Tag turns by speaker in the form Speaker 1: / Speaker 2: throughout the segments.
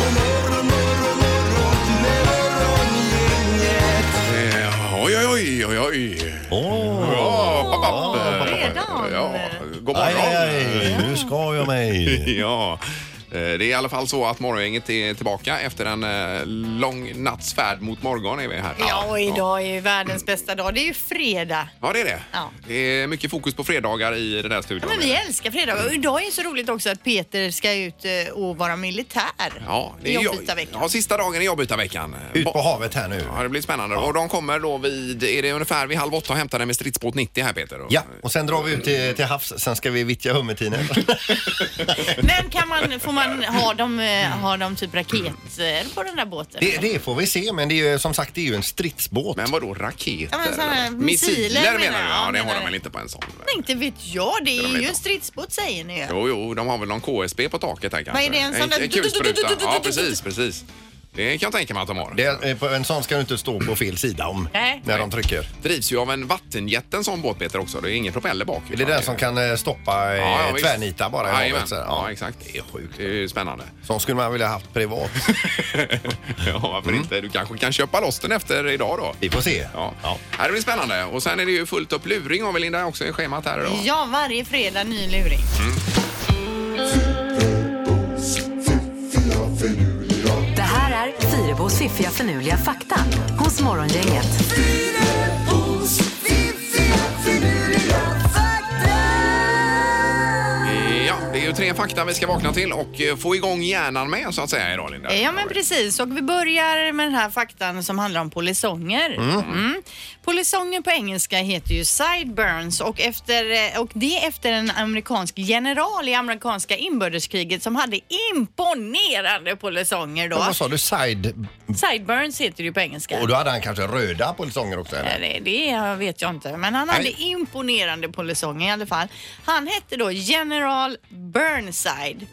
Speaker 1: Eh, Eh, god morgon.
Speaker 2: Aj, aj, aj, nu ska jag mig.
Speaker 1: Ja. Eh, Det är i alla fall så att morgongänget är tillbaka efter en eh, lång natts färd mot morgon är vi här.
Speaker 3: Ja, och idag är ju världens bästa dag. Det är ju fredag.
Speaker 1: Ja, det är det.
Speaker 3: Ja.
Speaker 1: Det är mycket fokus på fredagar i den här studion.
Speaker 3: Ja, men vi älskar fredagar. Och idag är det så roligt också att Peter ska ut eh, och vara militär.
Speaker 1: Ja, det är
Speaker 3: Jobbytarveckan.
Speaker 1: Ja, sista dagen i jobbytarveckan.
Speaker 2: Ut på
Speaker 1: Ba-
Speaker 2: havet här nu.
Speaker 1: Ja, det blir spännande. Och de kommer då vid, är det ungefär vid halv åtta och hämtar den med stridsbåt 90 här Peter? Och-
Speaker 2: Ja, och sen drar vi ut till, till havs. Sen ska vi vittja hummertinen.
Speaker 3: Men kan man, får man ha dem, eh, ha dem typ raketer på den där båten?
Speaker 2: Det, det får vi se, men det är ju som sagt det är ju en stridsbåt.
Speaker 1: Men vadå raketer?
Speaker 3: Ja, men såna här missiler
Speaker 1: missiler menar
Speaker 3: menar
Speaker 1: du?
Speaker 3: jag.
Speaker 1: Ja, det
Speaker 3: Menar
Speaker 1: har de
Speaker 3: jag.
Speaker 1: väl inte på en sån?
Speaker 3: Nej, Inte vet jag. Det
Speaker 1: de
Speaker 3: är
Speaker 1: vet
Speaker 3: ju en
Speaker 1: om.
Speaker 3: stridsbåt säger ni ju.
Speaker 1: Jo, jo, de har väl någon KSB på taket här kanske.
Speaker 3: är det, en sån där-
Speaker 1: kulspruta? Ja, precis, precis. Det kan jag tänka mig att de har.
Speaker 2: Det, är- eh, på- en sån ska du inte stå på fel sida om
Speaker 3: Nej.
Speaker 2: när de trycker.
Speaker 1: drivs ju av en vattenjet en sån båt Peter också. Det är ingen propeller bak.
Speaker 2: Det är den som kan eh, stoppa eh,
Speaker 1: visst.
Speaker 2: tvärnita bara i
Speaker 1: Jajamän.
Speaker 2: havet. så här.
Speaker 1: Ja, exakt.
Speaker 2: Det är sjukt.
Speaker 1: Det är ju spännande.
Speaker 2: Sån skulle man vilja haft privat.
Speaker 1: ja, varför
Speaker 2: Mm.
Speaker 1: inte? Du kanske kan köpa loss den efter idag då.
Speaker 2: Vi får se.
Speaker 1: Ja. Ja, det blir spännande. Och sen är det ju fullt upp luring har vi Linda också i schemat här idag.
Speaker 3: Ja, varje fredag ny luring.
Speaker 4: Det här är Fyrabos fiffiga förnuliga fakta hos Morgongänget.
Speaker 1: Eh, Ja, det är ju tre fakta vi ska vakna till och eh, få igång hjärnan med så att säga idag Linda.
Speaker 3: Ja men precis och vi börjar med den här faktan som handlar om polisonger. Mm. Polisonger på engelska heter ju sideburns och, efter, eh, och det efter en amerikansk general i amerikanska inbördeskriget som hade imponerande polisonger då.
Speaker 2: Vad sa du? Side...
Speaker 3: Sideburns heter det ju på engelska.
Speaker 2: Och då hade han kanske röda polisonger också eller?
Speaker 3: Eh, Det, det vet jag inte, men han hade
Speaker 2: Nej.
Speaker 3: imponerande polisonger i alla fall. Han hette då General Burnside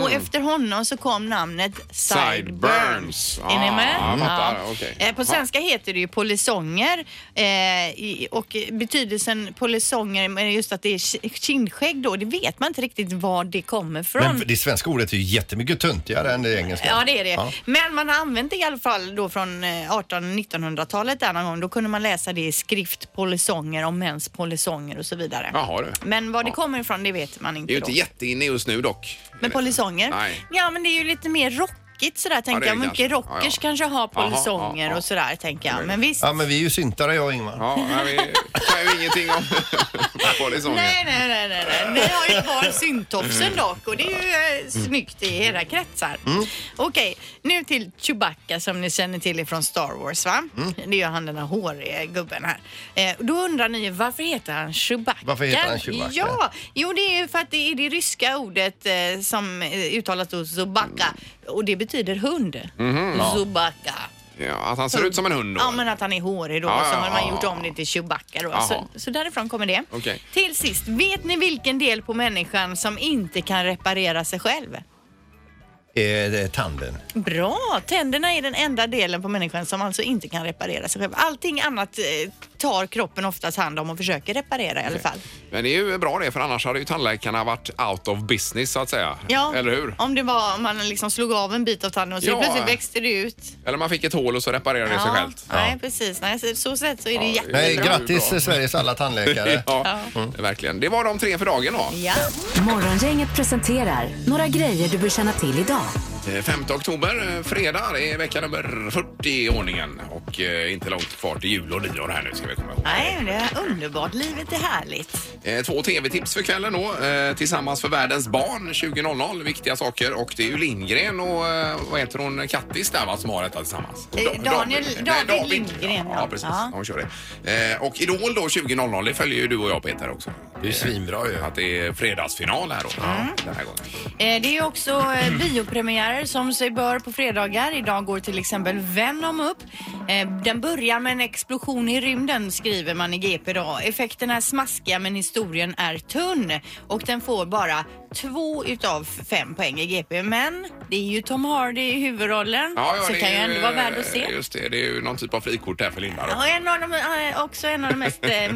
Speaker 3: och efter honom så kom namnet Sideburns.
Speaker 1: Sideburns.
Speaker 3: Är ni
Speaker 1: Ah,
Speaker 3: med?
Speaker 1: jag fattar. Okej.
Speaker 3: Eh, På
Speaker 1: Ja.
Speaker 3: svenska heter det ju polisonger eh, i- och betydelsen polisonger, men just att det är ki- kindskägg då, det vet man inte riktigt var det kommer från.
Speaker 2: Men det svenska ordet är ju jättemycket töntigare än det
Speaker 1: Typ.
Speaker 2: engelska.
Speaker 3: Ja, det är det.
Speaker 2: Ja.
Speaker 3: Men man har använt det i alla fall då från 1800-1900-talet där någon gång. Då kunde man läsa det i skrift, polisonger om mäns polisonger och så vidare.
Speaker 1: Jaha du.
Speaker 3: Men var det
Speaker 1: Ja.
Speaker 3: kommer ifrån det vet man
Speaker 1: Det
Speaker 3: inte.
Speaker 1: är ju inte
Speaker 3: då.
Speaker 1: jätteinne just nu dock.
Speaker 3: Men polisonger?
Speaker 1: Nej.
Speaker 3: Ja, men det är ju lite mer rockigt sådär
Speaker 1: det
Speaker 3: tänker
Speaker 1: är
Speaker 3: jag.
Speaker 1: det
Speaker 3: Mycket
Speaker 1: kanske. Ja,
Speaker 3: rockers
Speaker 1: ja.
Speaker 3: kanske har
Speaker 1: Jaha,
Speaker 3: polisonger
Speaker 1: ja, ja.
Speaker 3: och sådär tänker jag. Men visst.
Speaker 2: Ja, men vi är ju syntare jag och Ingmar.
Speaker 1: Ja, nej, vi kan ju ingenting om polisonger.
Speaker 3: Nej, nej, nej, nej, nej. Ni har ju kvar syntofsen dock och det är ju eh, snyggt i era kretsar.
Speaker 2: Mm.
Speaker 3: Okej, nu till Chewbacca som ni känner till ifrån Star Wars va?
Speaker 2: Mm.
Speaker 3: Det är ju han den här håriga gubben här. Eh, då undrar ni ju varför heter han Chewbacca?
Speaker 2: Varför heter han Chewbacca?
Speaker 3: Ja, jo det är ju för att det är det ryska ordet eh, som eh, uttalas då Chewbacca
Speaker 2: Mm.
Speaker 3: och det betyder hund.
Speaker 2: Mhm,
Speaker 3: Chewbacca.
Speaker 1: Ja, att han ser ut som en hund då?
Speaker 3: Ja, men att han är hårig då.
Speaker 1: Ja,
Speaker 3: så
Speaker 1: ja,
Speaker 3: har man
Speaker 1: ja,
Speaker 3: gjort
Speaker 1: ja.
Speaker 3: om det till Chewbacca då.
Speaker 1: Jaha.
Speaker 3: Så, så därifrån kommer det.
Speaker 1: Okej.
Speaker 3: Till sist, vet ni vilken del på människan som inte kan reparera sig själv?
Speaker 2: Eh, det är tanden.
Speaker 3: Bra! Tänderna är den enda delen på människan som alltså inte kan reparera sig själv. Allting annat eh, tar kroppen oftast hand om och försöker reparera i alla fall.
Speaker 1: Men det är ju bra det, för annars hade ju tandläkarna varit out of business så att säga.
Speaker 3: Ja,
Speaker 1: Eller hur?
Speaker 3: Om det var om man liksom slog av en bit av tanden och så
Speaker 1: Ja.
Speaker 3: plötsligt växte det ut.
Speaker 1: Eller man fick ett hål och så reparerade det sig självt.
Speaker 3: Nej, precis. Nej, så, så sett så är det
Speaker 1: Ja,
Speaker 3: jättebra.
Speaker 2: Nej,
Speaker 1: Det är bra.
Speaker 2: grattis till Sveriges alla tandläkare.
Speaker 1: Ja, verkligen. Det var de tre för dagen då.
Speaker 3: Ja.
Speaker 4: Morgongänget presenterar några grejer du bör känna till idag.
Speaker 1: Eh, 5 oktober, eh, fredag, det är vecka nummer 40 i ordningen. Och eh, inte långt kvar till jul och nyår här nu ska vi komma ihåg.
Speaker 3: Nej, men det är underbart. Livet är härligt.
Speaker 1: Eh, Två tv-tips för kvällen då. Eh, Tillsammans för världens barn 20.00, viktiga saker. Och det är ju Lindgren och eh, vad heter hon, Kattis där va, som har detta tillsammans.
Speaker 3: Eh,
Speaker 1: Da-
Speaker 3: Daniel-
Speaker 1: nej,
Speaker 3: David Lindgren,
Speaker 1: Ja,
Speaker 3: ja.
Speaker 1: ja precis.
Speaker 3: Ja.
Speaker 1: De kör det. Eh, Och Idol då 20.00, det följer ju du och jag Peter också. Eh,
Speaker 2: Det är ju svinbra ju.
Speaker 1: Att det är fredagsfinal här då.
Speaker 3: Mm.
Speaker 1: Den här gången.
Speaker 3: Eh, Det är också eh, biopremiärer som sig bör på fredagar. Idag går till exempel Venom upp. Eh, Den börjar med en explosion i rymden skriver man i GP idag. Effekterna är smaskiga men historien är tunn och den får bara två utav fem poäng i GP. Men det är ju Tom Hardy i huvudrollen så
Speaker 1: det
Speaker 3: kan ju
Speaker 1: är eh,
Speaker 3: ändå vara värd att se.
Speaker 1: Just det, det är ju någon typ av frikort där för Linda då.
Speaker 3: Ja, Och en av de, eh, också en av de mest eh,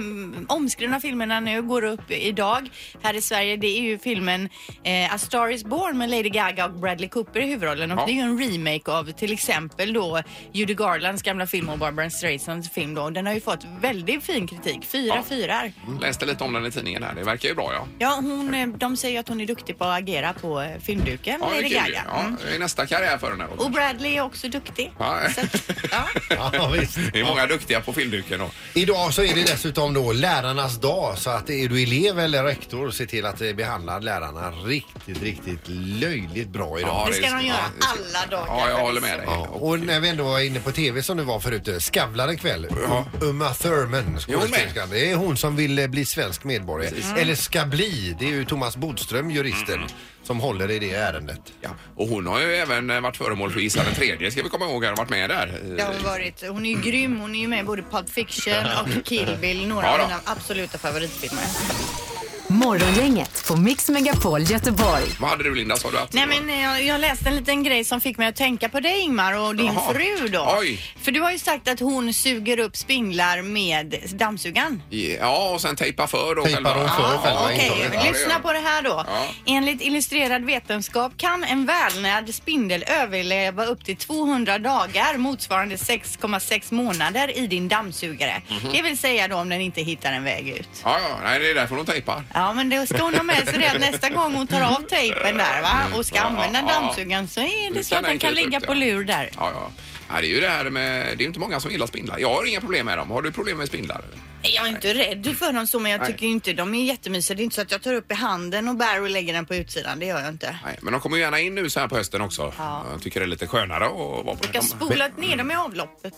Speaker 3: omskrivna filmerna nu går upp idag här i Sverige. Det är ju filmen eh, A Star Is Born med Lady Gaga och Bradley Cooper i huvudrollen. Och
Speaker 1: Ja.
Speaker 3: det är ju en remake av till exempel då Judy Garlands gamla Amanda Fillmore och Barbara Straislands film då. Den har ju fått väldigt fin kritik. Fyra
Speaker 1: Ja.
Speaker 3: fyrar.
Speaker 1: Mm. Läste lite om den i tidningen här. Det verkar ju bra ja.
Speaker 3: Ja, hon, eh, de säger att hon är duktig på att agera på eh, filmduken,
Speaker 1: Ja, det är
Speaker 3: Lady
Speaker 1: kul ju.
Speaker 3: Gaga. Mm.
Speaker 1: ja, det är nästa karriär för den här då.
Speaker 3: Och Bradley är också duktig.
Speaker 1: Ja.
Speaker 3: Så att, ja.
Speaker 5: Ja, visst.
Speaker 1: Det är många duktiga på filmduken då.
Speaker 5: Idag så är det dessutom då lärarnas dag så att är du elev eller rektor se till att eh, behandla lärarna riktigt, riktigt löjligt bra idag.
Speaker 3: Det ska de göra
Speaker 1: ja,
Speaker 3: alla dagar.
Speaker 1: Ja, jag håller med dig.
Speaker 5: Ja, och när vi ändå är inne på tv som du var förut, eh, Skavlan ikväll. Uma Thurman, skådespelerskan. Det är hon som vill eh, bli svensk medborgare. Eller ska bli. Det är ju Thomas Bodström, juristen,
Speaker 1: Mm.
Speaker 5: som håller i det ärendet.
Speaker 1: Ja. Och hon har ju även eh, varit föremål för Gissa den tredje, ska vi komma ihåg, har varit med där. Eh,
Speaker 3: Det har varit, hon är ju grym. Hon är ju med i både Pulp Fiction och Kill Bill. Några
Speaker 1: Ja
Speaker 3: av
Speaker 1: då.
Speaker 3: mina absoluta favoritfilmer.
Speaker 4: Morgongänget på Mix Megapol Göteborg.
Speaker 1: Vad hade du Linda, sa du att?
Speaker 3: Nej men eh, jag, jag läste en liten grej som fick mig att tänka på dig Ingmar och din
Speaker 1: Jaha.
Speaker 3: fru då.
Speaker 1: Oj.
Speaker 3: För du har ju sagt att hon suger upp spindlar med dammsugaren.
Speaker 1: Ja, och sen tejpa för då.
Speaker 5: Tejpar
Speaker 1: själva-
Speaker 5: hon för
Speaker 1: Ja,
Speaker 5: själva
Speaker 1: okej.
Speaker 5: intaget.
Speaker 1: Ja, det gör
Speaker 3: lyssna
Speaker 1: hon.
Speaker 3: på det här då.
Speaker 1: Ja.
Speaker 3: Enligt illustrerad vetenskap kan en välnärd spindel överleva upp till 200 dagar motsvarande 6,6 månader i din dammsugare.
Speaker 1: Mhm.
Speaker 3: Det vill säga då om den inte hittar en väg ut.
Speaker 1: Ja, ja, nej, det är därför hon tejpar.
Speaker 3: Ja men då ska hon ha med sig det att nästa gång hon tar av tejpen där va och ska
Speaker 1: Ja,
Speaker 3: använda
Speaker 1: Mm. ja.
Speaker 3: dammsugaren så är
Speaker 1: Nu
Speaker 3: det så att
Speaker 1: kan den
Speaker 3: den kan
Speaker 1: krypa
Speaker 3: ligga
Speaker 1: upp,
Speaker 3: på
Speaker 1: ja.
Speaker 3: lur där.
Speaker 1: Ja, ja. ja, det är ju det här med, det är inte många som gillar spindlar. Jag har inga problem med dem. Har du problem med spindlar?
Speaker 3: Jag är inte rädd för dem så men jag
Speaker 1: Nej.
Speaker 3: tycker inte de är jättemysiga. Det är inte så att jag tar upp i handen och bär och lägger den på utsidan. Det gör jag inte.
Speaker 1: Nej, men de kommer ju gärna in nu så här på hösten också.
Speaker 3: Ja.
Speaker 1: Jag tycker det är lite skönare att vara på
Speaker 3: Jag har spolat ner dem i avloppet.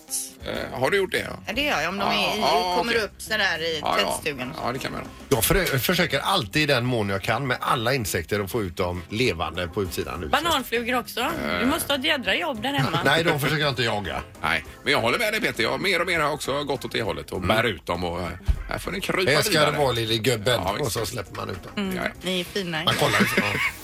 Speaker 1: Eh, Har du gjort det? Ja,
Speaker 3: Ja, det gör jag om de är i,
Speaker 1: Ja, ja,
Speaker 3: kommer
Speaker 1: okej.
Speaker 3: upp sådär i
Speaker 1: ja, ja.
Speaker 3: tvättstugan. och så.
Speaker 1: ja det kan man göra.
Speaker 5: Jag för, försöker alltid i den mån jag kan med alla insekter att få ut dem levande på utsidan. nu.
Speaker 3: Bananflugor också. Du måste ha ett jädra jobb där hemma.
Speaker 5: Nej, de försöker jag inte jaga.
Speaker 1: Nej, men jag håller med dig Peter. Jag mer och mer har också gått åt det hållet och bär ut dem och eh, här får ni krypa
Speaker 5: Här ska Mm. det
Speaker 1: vidare. Mm.
Speaker 5: vara lille gubben
Speaker 1: Ja, visst.
Speaker 5: och så släpper man ut dem.
Speaker 1: Ja, ja.
Speaker 3: Ni är fina.
Speaker 5: Man kollar ju så.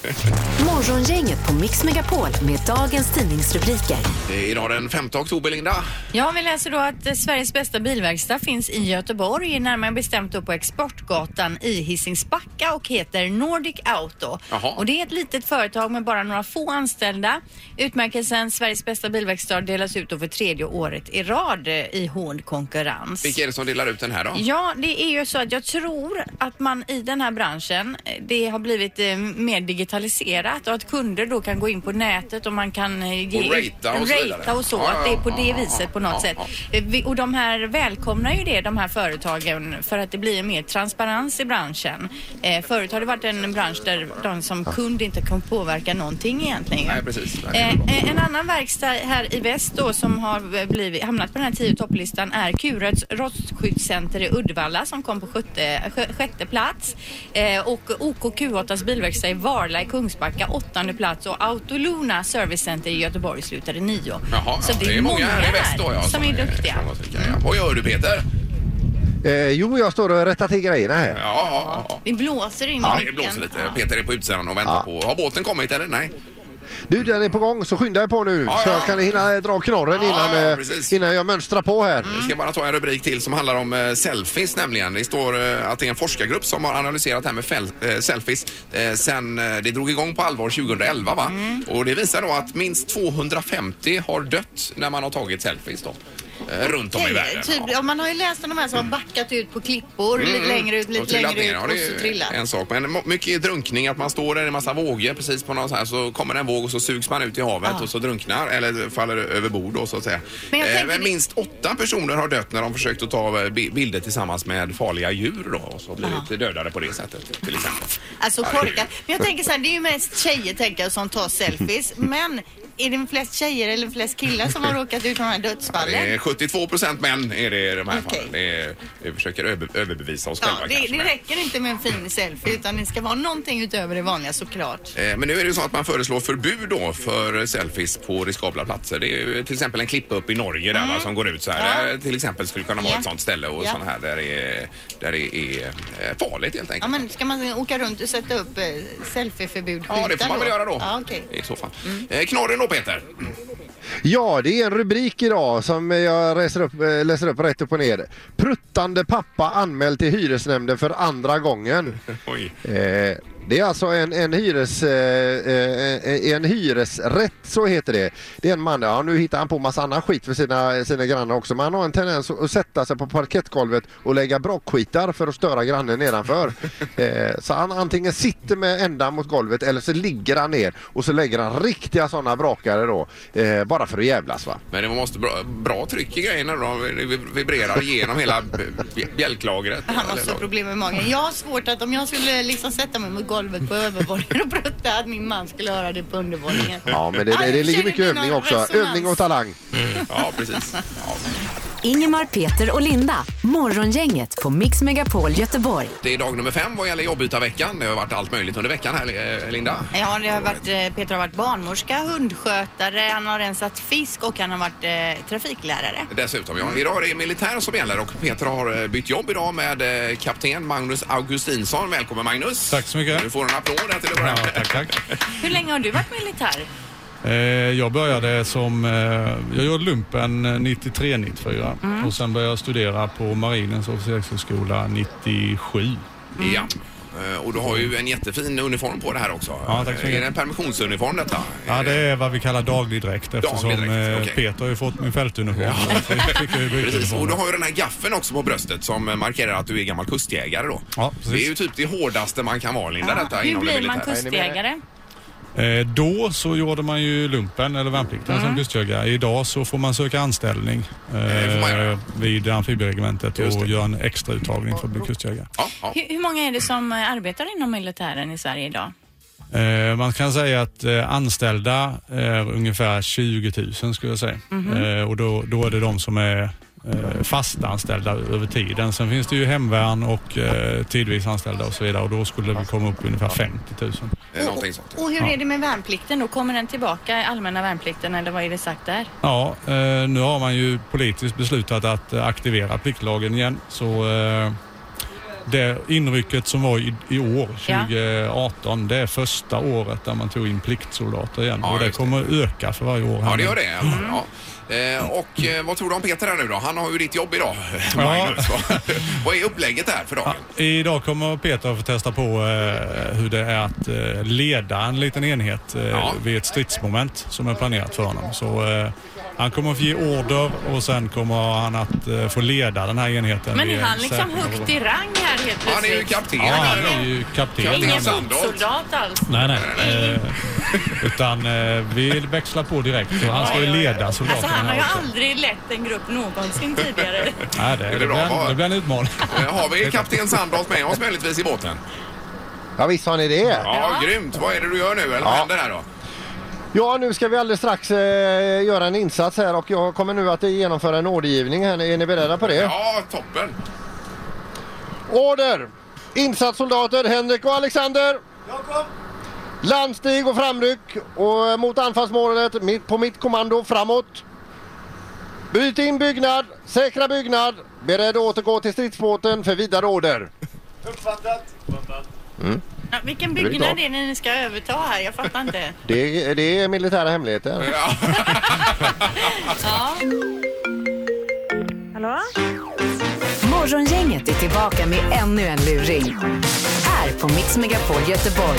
Speaker 5: Ja.
Speaker 4: Morgongänget på Mix Megapol med dagens tidningsrubriker.
Speaker 1: Det är idag den 5 oktober, Linda.
Speaker 3: Ja, vi läser då att eh, Sveriges bästa bilverkstad finns i Göteborg, närmare bestämt då på Exportgatan i Hisingsbacka och heter Nordic Auto.
Speaker 1: Jaha.
Speaker 3: Och det är ett litet företag med bara några få anställda. Utmärkelsen Sveriges bästa bilverkstad delas ut då för tredje året i rad eh, i hård konkurrens.
Speaker 1: Vilka är det som delar ut den här då?
Speaker 3: Ja, det är ju så att jag tror att man i den här branschen, eh, det har blivit eh, mer digitaliserat och att kunder då kan gå in på nätet och man kan eh, ge
Speaker 1: Och ratea och så vidare.
Speaker 3: ratea och så,
Speaker 1: Ja,
Speaker 3: att det är på
Speaker 1: ja,
Speaker 3: det
Speaker 1: ja,
Speaker 3: viset på
Speaker 1: ja,
Speaker 3: något
Speaker 1: ja,
Speaker 3: sätt.
Speaker 1: ja.
Speaker 3: Eh, vi- Och de här välkomnar ju det, de här företagen, för att det blir mer transparens i branschen. Eh, Förut har det varit en bransch där de som kund inte kan påverka någonting egentligen.
Speaker 1: Nej, precis. Nej, det är
Speaker 3: Eh,
Speaker 1: bra.
Speaker 3: Eh, en annan verkstad här i väst då som har eh, blivit, hamnat på den här tio topplistan är Kuröds rostskyddscenter i Uddevalla som kom på sjätte, sjö- sjätte plats. Eh, och OKQ8s bilverkstad i Varla i Kungsbacka åttonde plats och Autoluna servicecenter i Göteborg slutade nio.
Speaker 1: Jaha, ja, det är många här i väst då, ja,
Speaker 3: som är duktiga.
Speaker 1: som är duktiga, ja. Vad gör du Peter?
Speaker 6: Eh, jo, jag står och rättar till grejerna här.
Speaker 1: Ja, ja, ja.
Speaker 3: Det blåser in i
Speaker 1: ja det
Speaker 3: micken.
Speaker 1: blåser lite.
Speaker 3: Ja.
Speaker 1: Peter är på utsidan och väntar på... Har båten kommit eller? Nej.
Speaker 6: Du, den är på gång, så skynda er på nu.
Speaker 1: Ja,
Speaker 6: så
Speaker 1: ja.
Speaker 6: jag kan hinna eh, dra knorren innan,
Speaker 1: ja,
Speaker 6: eh,
Speaker 1: precis.
Speaker 6: innan jag mönstrar på här.
Speaker 1: Vi ska bara ta en rubrik till som handlar om eh, selfies nämligen. Det står eh, att det är en forskargrupp som har analyserat det här med fel, eh, selfies eh, sen eh, det drog igång på allvar 2011 va?
Speaker 6: Mm.
Speaker 1: Och det visar då att minst 250 har dött när man har tagit selfies då. Eh, runt om i världen. Mm.
Speaker 3: Typ, ja, man har ju läst om de här som har backat ut på klippor lite längre ut,
Speaker 1: Och
Speaker 3: lite
Speaker 1: trillat
Speaker 3: längre ut
Speaker 1: ner,
Speaker 3: och
Speaker 1: det är
Speaker 3: så trillat.
Speaker 1: En sak, men mo- mycket är drunkning, att man står där i en massa vågor precis på någon så här så kommer det en våg och så sugs man ut i havet och så drunknar eller faller över bord då så att säga.
Speaker 3: Ah. Men
Speaker 1: Men,
Speaker 3: jag
Speaker 1: eh,
Speaker 3: tänker
Speaker 1: men
Speaker 3: det-
Speaker 1: minst åtta personer har dött när de försökt att ta eh, bi- bilder tillsammans med farliga djur då och så blivit
Speaker 3: Ah.
Speaker 1: dödade på det sättet till exempel.
Speaker 3: Alltså korkat. Men jag tänker så här, det är ju mest tjejer tänker jag som tar selfies.
Speaker 1: Mm.
Speaker 3: Men är det flest tjejer eller flest killar som har råkat ut för de här
Speaker 1: Det är
Speaker 3: dödsfallen?
Speaker 1: 72 Eh, procent män är det i de här
Speaker 3: Okej.
Speaker 1: fallen. Det är, vi försöker över, överbevisa oss
Speaker 3: Ja,
Speaker 1: själva
Speaker 3: det,
Speaker 1: kanske,
Speaker 3: det
Speaker 1: men-
Speaker 3: räcker inte med en fin selfie utan det ska vara någonting utöver det vanliga såklart.
Speaker 1: Eh, Men nu är det ju så att man föreslår förbud då för selfies på riskabla platser. Det är ju till exempel en klippa upp i Norge där va, som går ut så här.
Speaker 3: Mm. Ja.
Speaker 1: Eh, Till exempel skulle kunna vara
Speaker 3: Ja.
Speaker 1: ett sånt ställe och
Speaker 3: Ja.
Speaker 1: sån här där det är, där det är eh, farligt helt
Speaker 3: Ja
Speaker 1: enkelt.
Speaker 3: men ska man åka runt och sätta upp eh, selfieförbud
Speaker 1: Ja, det får man väl göra då.
Speaker 3: Ja, okej. Mm.
Speaker 1: I så fall. Eh, Knorren då Peter?
Speaker 6: Ja, det är en rubrik idag som eh, jag läser upp, eh, läser upp rätt upp och ner. Pruttande pappa anmäld till hyresnämnden för andra gången.
Speaker 1: Oj.
Speaker 6: Eh, Det är alltså en, en, hyres, eh, eh, en hyresrätt, så heter det. Det är en man, ja nu hittar han på massa annan skit för sina, sina grannar också, men han har en tendens att sätta sig på parkettgolvet och lägga bråkskitar för att störa grannen nedanför. Eh, så han antingen sitter med ändan mot golvet eller så ligger han ner och så lägger han riktiga sådana brakare då, eh, bara för att jävlas va.
Speaker 1: Men det måste bra, bra tryck i grejerna då. Det vib- vibrerar genom hela b- b- bjälklagret.
Speaker 3: Han har
Speaker 1: Eller
Speaker 3: också
Speaker 1: lag-
Speaker 3: problem med magen. Jag har svårt att om jag skulle liksom sätta mig mot golvet på övervåningen och prutta att min man skulle höra det på undervåningen.
Speaker 6: Ja men det, det, det ligger mycket övning också, övning och talang.
Speaker 1: Ja, precis. Ja.
Speaker 4: Ingemar, Peter och Linda. Morgongänget på Mix Megapol Göteborg.
Speaker 1: Det är dag nummer fem vad gäller jobbytarveckan. Det har varit allt möjligt under veckan här, eh, Linda.
Speaker 3: Ja, det har varit, eh, Peter har varit barnmorska, hundskötare, han har rensat fisk och han har varit eh, trafiklärare.
Speaker 1: Dessutom, ja. Idag är det militär som gäller och Peter har eh, bytt jobb idag med eh, kapten Magnus Augustinsson. Välkommen Magnus!
Speaker 7: Tack så mycket.
Speaker 1: Du får en applåd här till att börja
Speaker 7: Ja,
Speaker 1: med.
Speaker 7: tack, tack.
Speaker 3: Hur länge har du varit militär?
Speaker 7: Eh, jag började som, eh, jag gjorde lumpen 93-94
Speaker 1: Mm.
Speaker 7: och sen började jag studera på Marinens officershögskola 97. Mm.
Speaker 1: Ja. Eh, Och du har ju en jättefin uniform på det här också.
Speaker 7: Ja, tack så mycket.
Speaker 1: Är det en permissionsuniform detta?
Speaker 7: Ja, det är vad vi kallar daglig dräkt eftersom
Speaker 1: Daglig dräkt,
Speaker 7: eh,
Speaker 1: okej.
Speaker 7: Peter har ju fått min fältuniform. Ja. Så jag fick ju byta
Speaker 1: Precis, och du
Speaker 7: uniform.
Speaker 1: har ju den här gaffeln också på bröstet som eh, markerar att du är gammal kustjägare då.
Speaker 7: Ja, precis.
Speaker 1: det är ju typ det hårdaste man kan vara Linda detta
Speaker 3: Hur
Speaker 1: inom det
Speaker 3: blir man
Speaker 1: militära.
Speaker 3: kustjägare?
Speaker 7: Eh, då så gjorde man ju lumpen eller värnplikten
Speaker 1: Mm.
Speaker 7: som kustjägare. Idag så får man söka anställning
Speaker 1: det får man göra.
Speaker 7: eh, vid amfibieregementet
Speaker 1: Just det.
Speaker 7: och göra en extra uttagning för att bli kustjägare.
Speaker 1: Ja, ja.
Speaker 3: Hur, hur många är det som eh, arbetar inom militären i Sverige idag?
Speaker 7: Eh, man kan säga att eh, anställda är ungefär 20 000 skulle jag säga. Eh, och då, då är det de som är eh, fasta anställda över tiden. Sen finns det ju hemvärn och eh, tidvis anställda och så vidare och då skulle vi komma upp i ungefär 50 000.
Speaker 1: Eh, Någonting sånt.
Speaker 3: Och hur är det med värnplikten då? Kommer den tillbaka, allmänna värnplikten, eller vad är det sagt där?
Speaker 7: Ja, eh, nu har man ju politiskt beslutat att eh, aktivera pliktlagen igen. Så eh, det inrycket som var i, i år,
Speaker 3: Ja.
Speaker 7: 2018, det är första året där man tog in pliktsoldater igen.
Speaker 1: Ja,
Speaker 7: och det
Speaker 1: just det.
Speaker 7: kommer öka för varje år.
Speaker 1: Ja,
Speaker 7: här
Speaker 1: det
Speaker 7: nu.
Speaker 1: gör det. Ja. Eh, Och eh, vad tror du om Peter här nu då? Han har ju ditt jobb idag, Magnus. Vad är upplägget här för dagen?
Speaker 7: Idag kommer Peter att få testa på eh, hur det är att eh, leda en liten enhet eh,
Speaker 1: Ja.
Speaker 7: vid ett stridsmoment som är planerat för honom. Så, eh, han kommer att få ge order och sen kommer han att eh, få leda den här enheten.
Speaker 3: Men
Speaker 7: vid
Speaker 3: är
Speaker 7: en
Speaker 3: han liksom
Speaker 7: säker-
Speaker 3: högt i rang här helt
Speaker 1: Han är ju
Speaker 3: plötsligt?
Speaker 1: kapten.
Speaker 7: Ja, han
Speaker 1: här
Speaker 7: är
Speaker 1: då.
Speaker 7: ju kapten.
Speaker 1: Kapten
Speaker 3: Ingen
Speaker 7: Han är-
Speaker 1: Sandholt.
Speaker 3: fotsoldat alls?
Speaker 7: Nej, nej. Eh, utan eh, vi växlar på direkt. Så han ska ju leda soldaterna
Speaker 3: Alltså han har ju
Speaker 7: här också.
Speaker 3: aldrig lett en grupp någonsin tidigare.
Speaker 7: Nej, det,
Speaker 1: det
Speaker 7: det,
Speaker 1: bra?
Speaker 7: blir en,
Speaker 1: Vad-
Speaker 7: det blir en utmaning.
Speaker 1: Eh, Har vi kapten Sandholt med oss möjligtvis i båten?
Speaker 6: Ja visst har ni det.
Speaker 1: Ja, grymt. Vad är det du gör nu? Eller vad händer här då?
Speaker 6: Ja, nu ska vi alldeles strax eh, göra en insats här och jag kommer nu att genomföra en ordergivning här. Är ni beredda på det?
Speaker 1: Ja, toppen.
Speaker 6: Order! Insatssoldater Henrik och Alexander. Landstig och framryck och eh, mot anfallsmålet mitt, på mitt kommando framåt. Byt in byggnad, säkra byggnad, beredd att återgå till stridsbåten för vidare order.
Speaker 3: Ja, vilken
Speaker 6: är
Speaker 3: byggnad
Speaker 6: klart.
Speaker 3: är det ni ska överta här? Jag fattar inte.
Speaker 6: Det, är- det är militära hemligheter.
Speaker 1: Ja.
Speaker 3: Ja.
Speaker 4: Morgongänget är tillbaka med ännu en luring. Här på Mix Megapol Göteborg.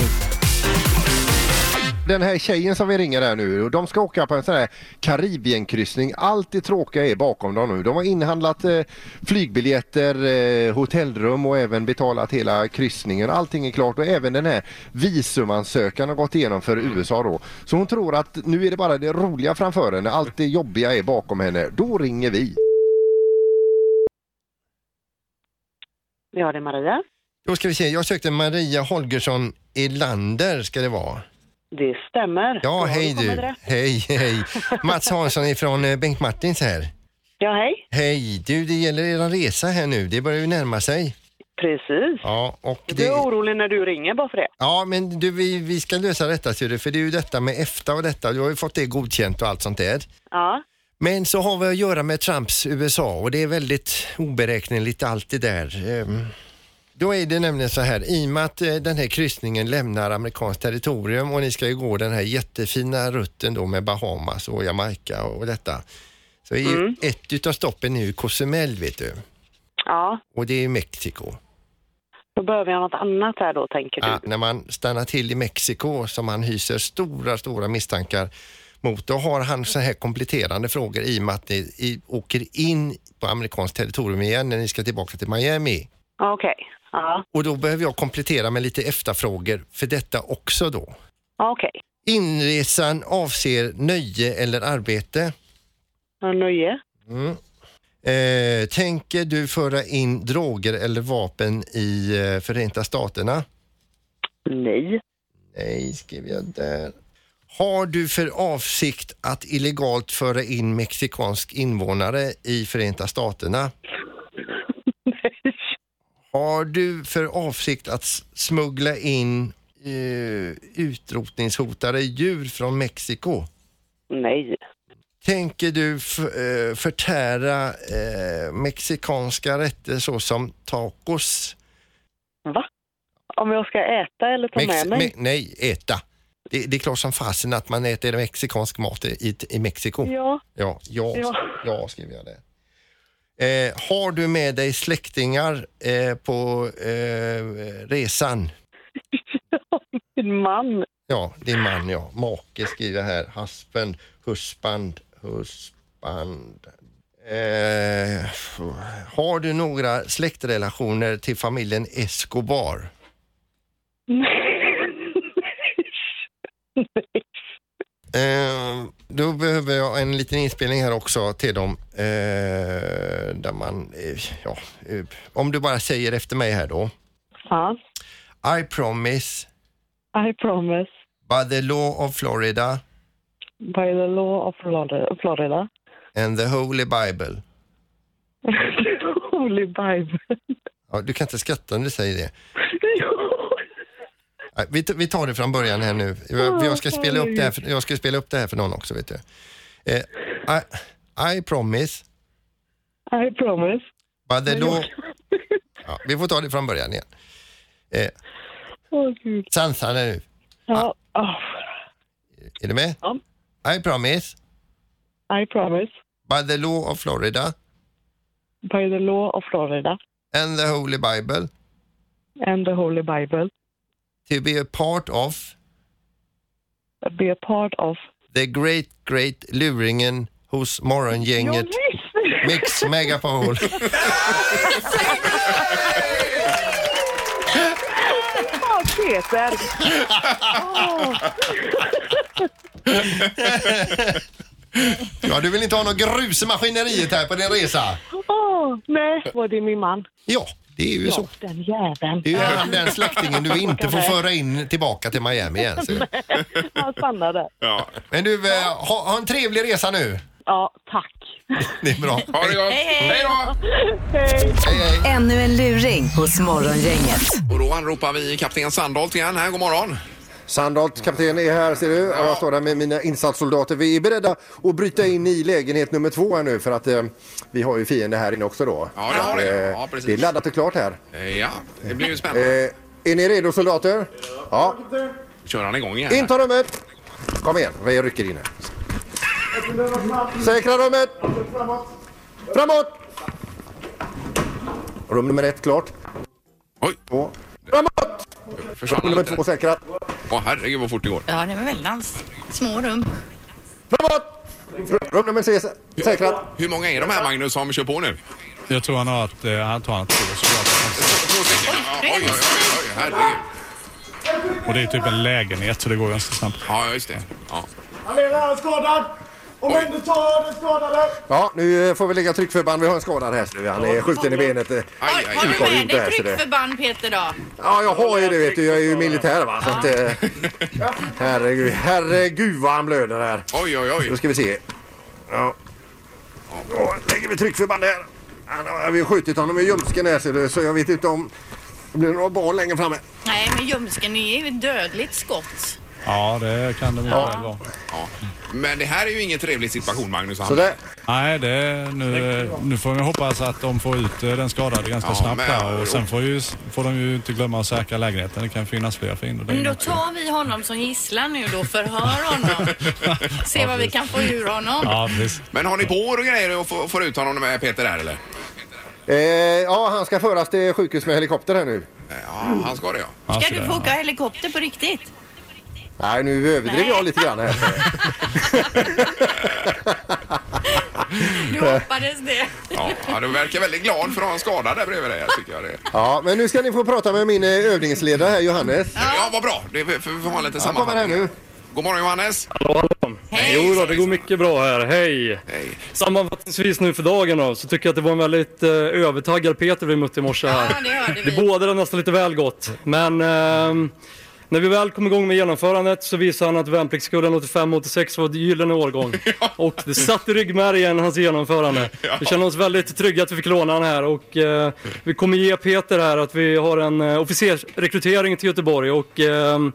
Speaker 6: Den här tjejen som vi ringer här nu, och de ska åka på en sån här Karibienkryssning. Allt det tråkiga är bakom dem nu. De har inhandlat eh, flygbiljetter, eh, hotellrum och även betalat hela kryssningen. Allting är klart och även den här visumansökan har gått igenom för USA då. Så hon tror att nu är det bara det roliga framför henne, allt det jobbiga är bakom henne. Då ringer vi.
Speaker 8: Ja, det är Maria.
Speaker 2: Då ska vi se, jag sökte Maria Holgersson Elander ska det vara.
Speaker 8: Det stämmer. Då
Speaker 2: Ja,
Speaker 8: har
Speaker 2: hej
Speaker 8: kommit
Speaker 2: du.
Speaker 8: rätt.
Speaker 2: Hej, hej. Mats Hansson ifrån eh, Bengt Martins här.
Speaker 8: Ja, hej.
Speaker 2: Hej, du det gäller er resa här nu, det börjar ju närma sig.
Speaker 8: Precis.
Speaker 2: Ja, och
Speaker 8: Jag
Speaker 2: det...
Speaker 8: blir orolig när du ringer bara för det.
Speaker 2: Ja, men du, vi, vi ska lösa detta ser du, för det är ju detta med EFTA och detta, du har ju fått det godkänt och allt sånt där.
Speaker 8: Ja,
Speaker 2: Men så har vi att göra med Trumps USA och det är väldigt oberäkneligt allt det där. Ehm, Då är det nämligen så här, i och med att eh, den här kryssningen lämnar amerikanskt territorium och ni ska ju gå den här jättefina rutten då med Bahamas och Jamaica och detta. Så är ju ett utav stoppen nu Cozumel vet du
Speaker 8: ja,
Speaker 2: och det är Mexiko.
Speaker 8: Då behöver jag något annat här då, tänker du?
Speaker 2: Ja, Ah, när man stannar till i Mexiko som han hyser stora, stora misstankar mot, då har han så här kompletterande frågor i och med att ni i, åker in på amerikanskt territorium igen när ni ska tillbaka till Miami.
Speaker 8: Okej. Ja,
Speaker 2: Och då behöver jag komplettera med lite efterfrågor för detta också då.
Speaker 8: okej.
Speaker 2: Inresan avser nöje eller arbete.
Speaker 8: Något Nöje?
Speaker 2: Eh, tänker du föra in droger eller vapen i eh, Förenta Staterna?
Speaker 8: Nej.
Speaker 2: Nej, skrev jag där. Har du för avsikt att illegalt föra in mexikansk invånare i Förenta Staterna? Har du för avsikt att s- smuggla in eh, utrotningshotade djur från Mexiko?
Speaker 8: Nej.
Speaker 2: Tänker du f- eh, förtära eh, mexikanska rätter såsom tacos?
Speaker 8: Va? Om jag ska äta eller ta
Speaker 2: Mex-
Speaker 8: med mig?
Speaker 2: me- nej, äta. Det, det är klart som fasen att man äter mexikansk mat i, i Mexiko.
Speaker 8: Ja.
Speaker 2: Ja, ja, ja.
Speaker 8: Ja.
Speaker 2: skriver jag det. Eh, har du med dig släktingar eh, på eh, resan?
Speaker 8: Min man.
Speaker 2: Ja, din man ja. Make skriver jag här. Husband, husband, husband. Eh, har du några släktrelationer till familjen Escobar? Eh, då behöver jag en liten inspelning här också till dem. Eh, där man, eh, ja, eh, om du bara säger efter mig här då.
Speaker 8: Ja.
Speaker 2: I promise
Speaker 8: I promise
Speaker 2: by the law of Florida
Speaker 8: by the law of Florida- Florida.
Speaker 2: and the holy bible.
Speaker 8: Holy Bible.
Speaker 2: Ja, du kan inte skratta när du säger det. Nej, Vi tar- vi tar det från början här nu. Jag, jag, ska, spela upp det här för, jag ska spela upp det här för någon också. Vet du. Eh, I, I promise
Speaker 8: I promise.
Speaker 2: by the law... Ja, vi får ta det från början igen. Eh,
Speaker 8: Åh gud.
Speaker 2: Sansa nu.
Speaker 8: Ja. ah.
Speaker 2: Är du med?
Speaker 8: Ja.
Speaker 2: I promise
Speaker 8: I promise
Speaker 2: by the law of Florida
Speaker 8: by the law of Florida
Speaker 2: and the holy bible
Speaker 8: and the Holy Bible
Speaker 2: to be a part of
Speaker 8: be a part of...
Speaker 2: the great great luringen hos morgongänget Mix Megapol.
Speaker 8: Ja, Peter! Åh,
Speaker 2: Ja, du vill inte ha något grus i maskineriet här på din resa?
Speaker 8: åh, nej, var det min man?
Speaker 2: Ja, det är ju så.
Speaker 8: Den jäveln.
Speaker 2: Det är ju han, den släktingen du inte får föra in tillbaka till Miami igen. Så.
Speaker 8: Han stannade.
Speaker 1: Ja.
Speaker 2: Men du, eh, ha, ha en trevlig resa nu.
Speaker 8: Ja, tack.
Speaker 2: Det är bra.
Speaker 1: Ha det gott!
Speaker 3: hej.
Speaker 1: Hej då!
Speaker 2: Hej, hej.
Speaker 4: Ännu en luring hos Morgongänget.
Speaker 1: Och då anropar vi kapten Sandholt igen här. God morgon!
Speaker 6: Sandholt, kapten är här ser du. Och jag står där med mina insatssoldater. Vi är beredda att bryta in i lägenhet nummer två här nu för att eh, vi har ju fiende här inne också då.
Speaker 1: Ja, det har vi.
Speaker 6: Eh,
Speaker 1: Ja, precis.
Speaker 6: det är laddat och klart här.
Speaker 1: Eh, Ja, det blir ju
Speaker 6: Eh,
Speaker 1: spännande.
Speaker 6: är ni redo soldater? Ja.
Speaker 1: Kör han igång igen?
Speaker 6: Inta rummet! Kom igen, vi rycker in här. Säkra rummet! Framåt! Rum nummer ett klart.
Speaker 1: Oj,
Speaker 6: Två. Framåt!
Speaker 1: försvann han
Speaker 6: Nummer
Speaker 1: lite?
Speaker 6: två säkrat.
Speaker 1: Åh herregud vad fort det går.
Speaker 3: Ja, det var väldans små rum.
Speaker 6: Framåt! Rum nummer tre säkrat.
Speaker 1: Hur många är de här Magnus som kör på nu?
Speaker 7: Jag tror han har att eh, han tar han två soldater.
Speaker 1: Två stycken? Ja, Oj, oj, oj, oj, herregud.
Speaker 7: Och det är typ en lägenhet så det går ganska snabbt.
Speaker 1: Ja, just det. Ja.
Speaker 9: Han är redan skadad! Omhänderta den skadade!
Speaker 6: Ja, nu eh, får vi lägga tryckförband. Vi har en skadad här. ser du. Han är skjuten i benet. eh.
Speaker 1: Aj,
Speaker 3: Oj,
Speaker 1: aj,
Speaker 3: har
Speaker 1: aj.
Speaker 6: utgår
Speaker 3: du med
Speaker 6: inte här,
Speaker 3: dig
Speaker 6: så det-
Speaker 3: tryckförband Peter då?
Speaker 6: Ja, jag har ju det vet du. Jag är ju militär va. Så att, eh, herregud, herregud vad han blöder här.
Speaker 1: Oj, oj,
Speaker 6: Då
Speaker 1: oj.
Speaker 6: ska vi se. Ja. Då lägger vi tryckförband där. Han har- Vi har skjutit honom i ljumsken här ser du, så jag vet inte om det blir några barn längre framme.
Speaker 3: Nej, men ljumsken är ju ett dödligt skott.
Speaker 7: Ja, det kan det mycket väl vara.
Speaker 1: Ja. Men det här är ju ingen trevlig situation Magnus.
Speaker 6: Så där.
Speaker 7: Nej, det, nu, nu får vi hoppas att de får ut eh, den skadade ganska
Speaker 1: Ja,
Speaker 7: snabbt
Speaker 1: men-
Speaker 7: här. Och sen får, ju, får de ju inte glömma att säkra lägenheten. Det kan finnas fler fiender där
Speaker 3: Men
Speaker 7: inne
Speaker 3: då
Speaker 7: också.
Speaker 3: tar vi honom som gisslan nu då, förhör honom. Se vad vi kan få ur honom.
Speaker 7: Ja, precis.
Speaker 1: Men har ni bår och grejer och får, får ut honom med Peter här eller?
Speaker 6: Eh, ja, han ska föras till sjukhus med helikopter här nu.
Speaker 1: Ja, han ska det ja.
Speaker 7: Ja,
Speaker 3: Ska
Speaker 7: så
Speaker 3: du
Speaker 7: där,
Speaker 3: få
Speaker 7: ja.
Speaker 3: åka helikopter på riktigt?
Speaker 2: Nej, nu överdrev jag lite grann här.
Speaker 3: Du hoppades det.
Speaker 1: ja. ja du verkar väldigt glad för att ha en skada där bredvid dig tycker jag. Det.
Speaker 2: Ja, men nu ska ni få prata med min eh, övningsledare här, Johannes.
Speaker 1: Ja, vad bra. Det, för, för vi har lite
Speaker 2: Han kommer här
Speaker 1: sammanfattning.
Speaker 2: nu.
Speaker 1: God morgon Johannes.
Speaker 8: Hallå, hallå.
Speaker 3: Hej.
Speaker 8: Jo då, det går mycket bra här. Hej!
Speaker 1: Hej.
Speaker 8: Sammanfattningsvis nu för dagen då, så tycker jag att det var en väldigt eh, övertaggad Peter vi mötte i morse här.
Speaker 3: Ja, det hörde vi.
Speaker 8: Det bådade nästan lite väl gott. Men ehm, när vi väl kom igång med genomförandet så visade han att värnpliktskullen 85-86 var ett gyllene årgång. Och det satt i ryggmärgen hans genomförande. Vi känner oss väldigt trygga att vi fick låna han här och eh, vi kommer ge Peter här att vi har en eh, officersrekrytering till Göteborg och ehm,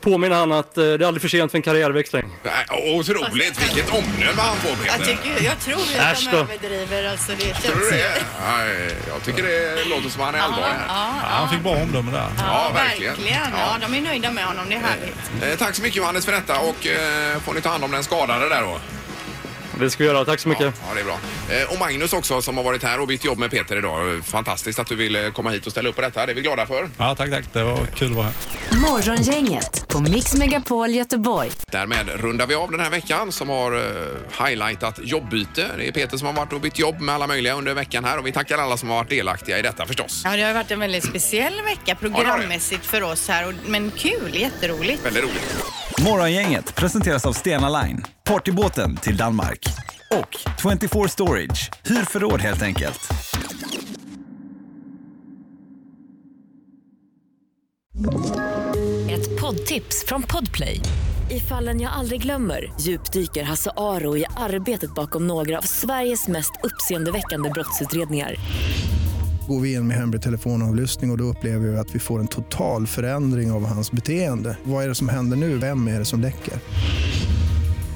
Speaker 8: påminna han att eh, det är aldrig för sent för en karriärväxling.
Speaker 1: Nej, Otroligt, vilket omdöme han får Peter.
Speaker 3: Jag, tycker, jag tror att
Speaker 8: Äsch
Speaker 3: de
Speaker 8: då.
Speaker 3: överdriver. Alltså, det känns...
Speaker 1: Tror du det? Nej, jag tycker det låter som han är allvarlig här.
Speaker 7: Ja, han fick bra omdöme där.
Speaker 1: Ja, verkligen.
Speaker 3: Ja. de är nöjda med honom. Det är härligt.
Speaker 1: Eh, tack så mycket Johannes för detta och eh, får ni ta hand om den skadade där då.
Speaker 8: Det ska vi göra, tack så mycket.
Speaker 1: Ja, ja, det är bra. Eh, och Magnus också som har varit här och bytt jobb med Peter idag. Fantastiskt att du ville komma hit och ställa upp på detta. Det är vi glada för.
Speaker 7: Ja, tack, tack. Det var kul att vara här.
Speaker 4: Morgongänget på Mix Megapol Göteborg.
Speaker 1: Därmed rundar vi av den här veckan som har eh, highlightat jobbbyte. Det är Peter som har varit och bytt jobb med alla möjliga under veckan här och vi tackar alla som har varit delaktiga i detta förstås.
Speaker 3: Ja, det har varit en väldigt speciell vecka programmässigt för oss här. Och, men kul, jätteroligt.
Speaker 1: Väldigt roligt.
Speaker 10: Morgongänget presenteras av Stena Line, partybåten till Danmark. Och 24 Storage, hyr förråd helt enkelt.
Speaker 4: Ett poddtips från Podplay. I fallen jag aldrig glömmer djupdyker Hasse Aro i arbetet bakom några av Sveriges mest uppseendeväckande brottsutredningar.
Speaker 10: Går vi in med hemlig telefonavlyssning och, och då upplever vi att vi får en total förändring av hans beteende. Vad är det som händer nu? Vem är det som läcker?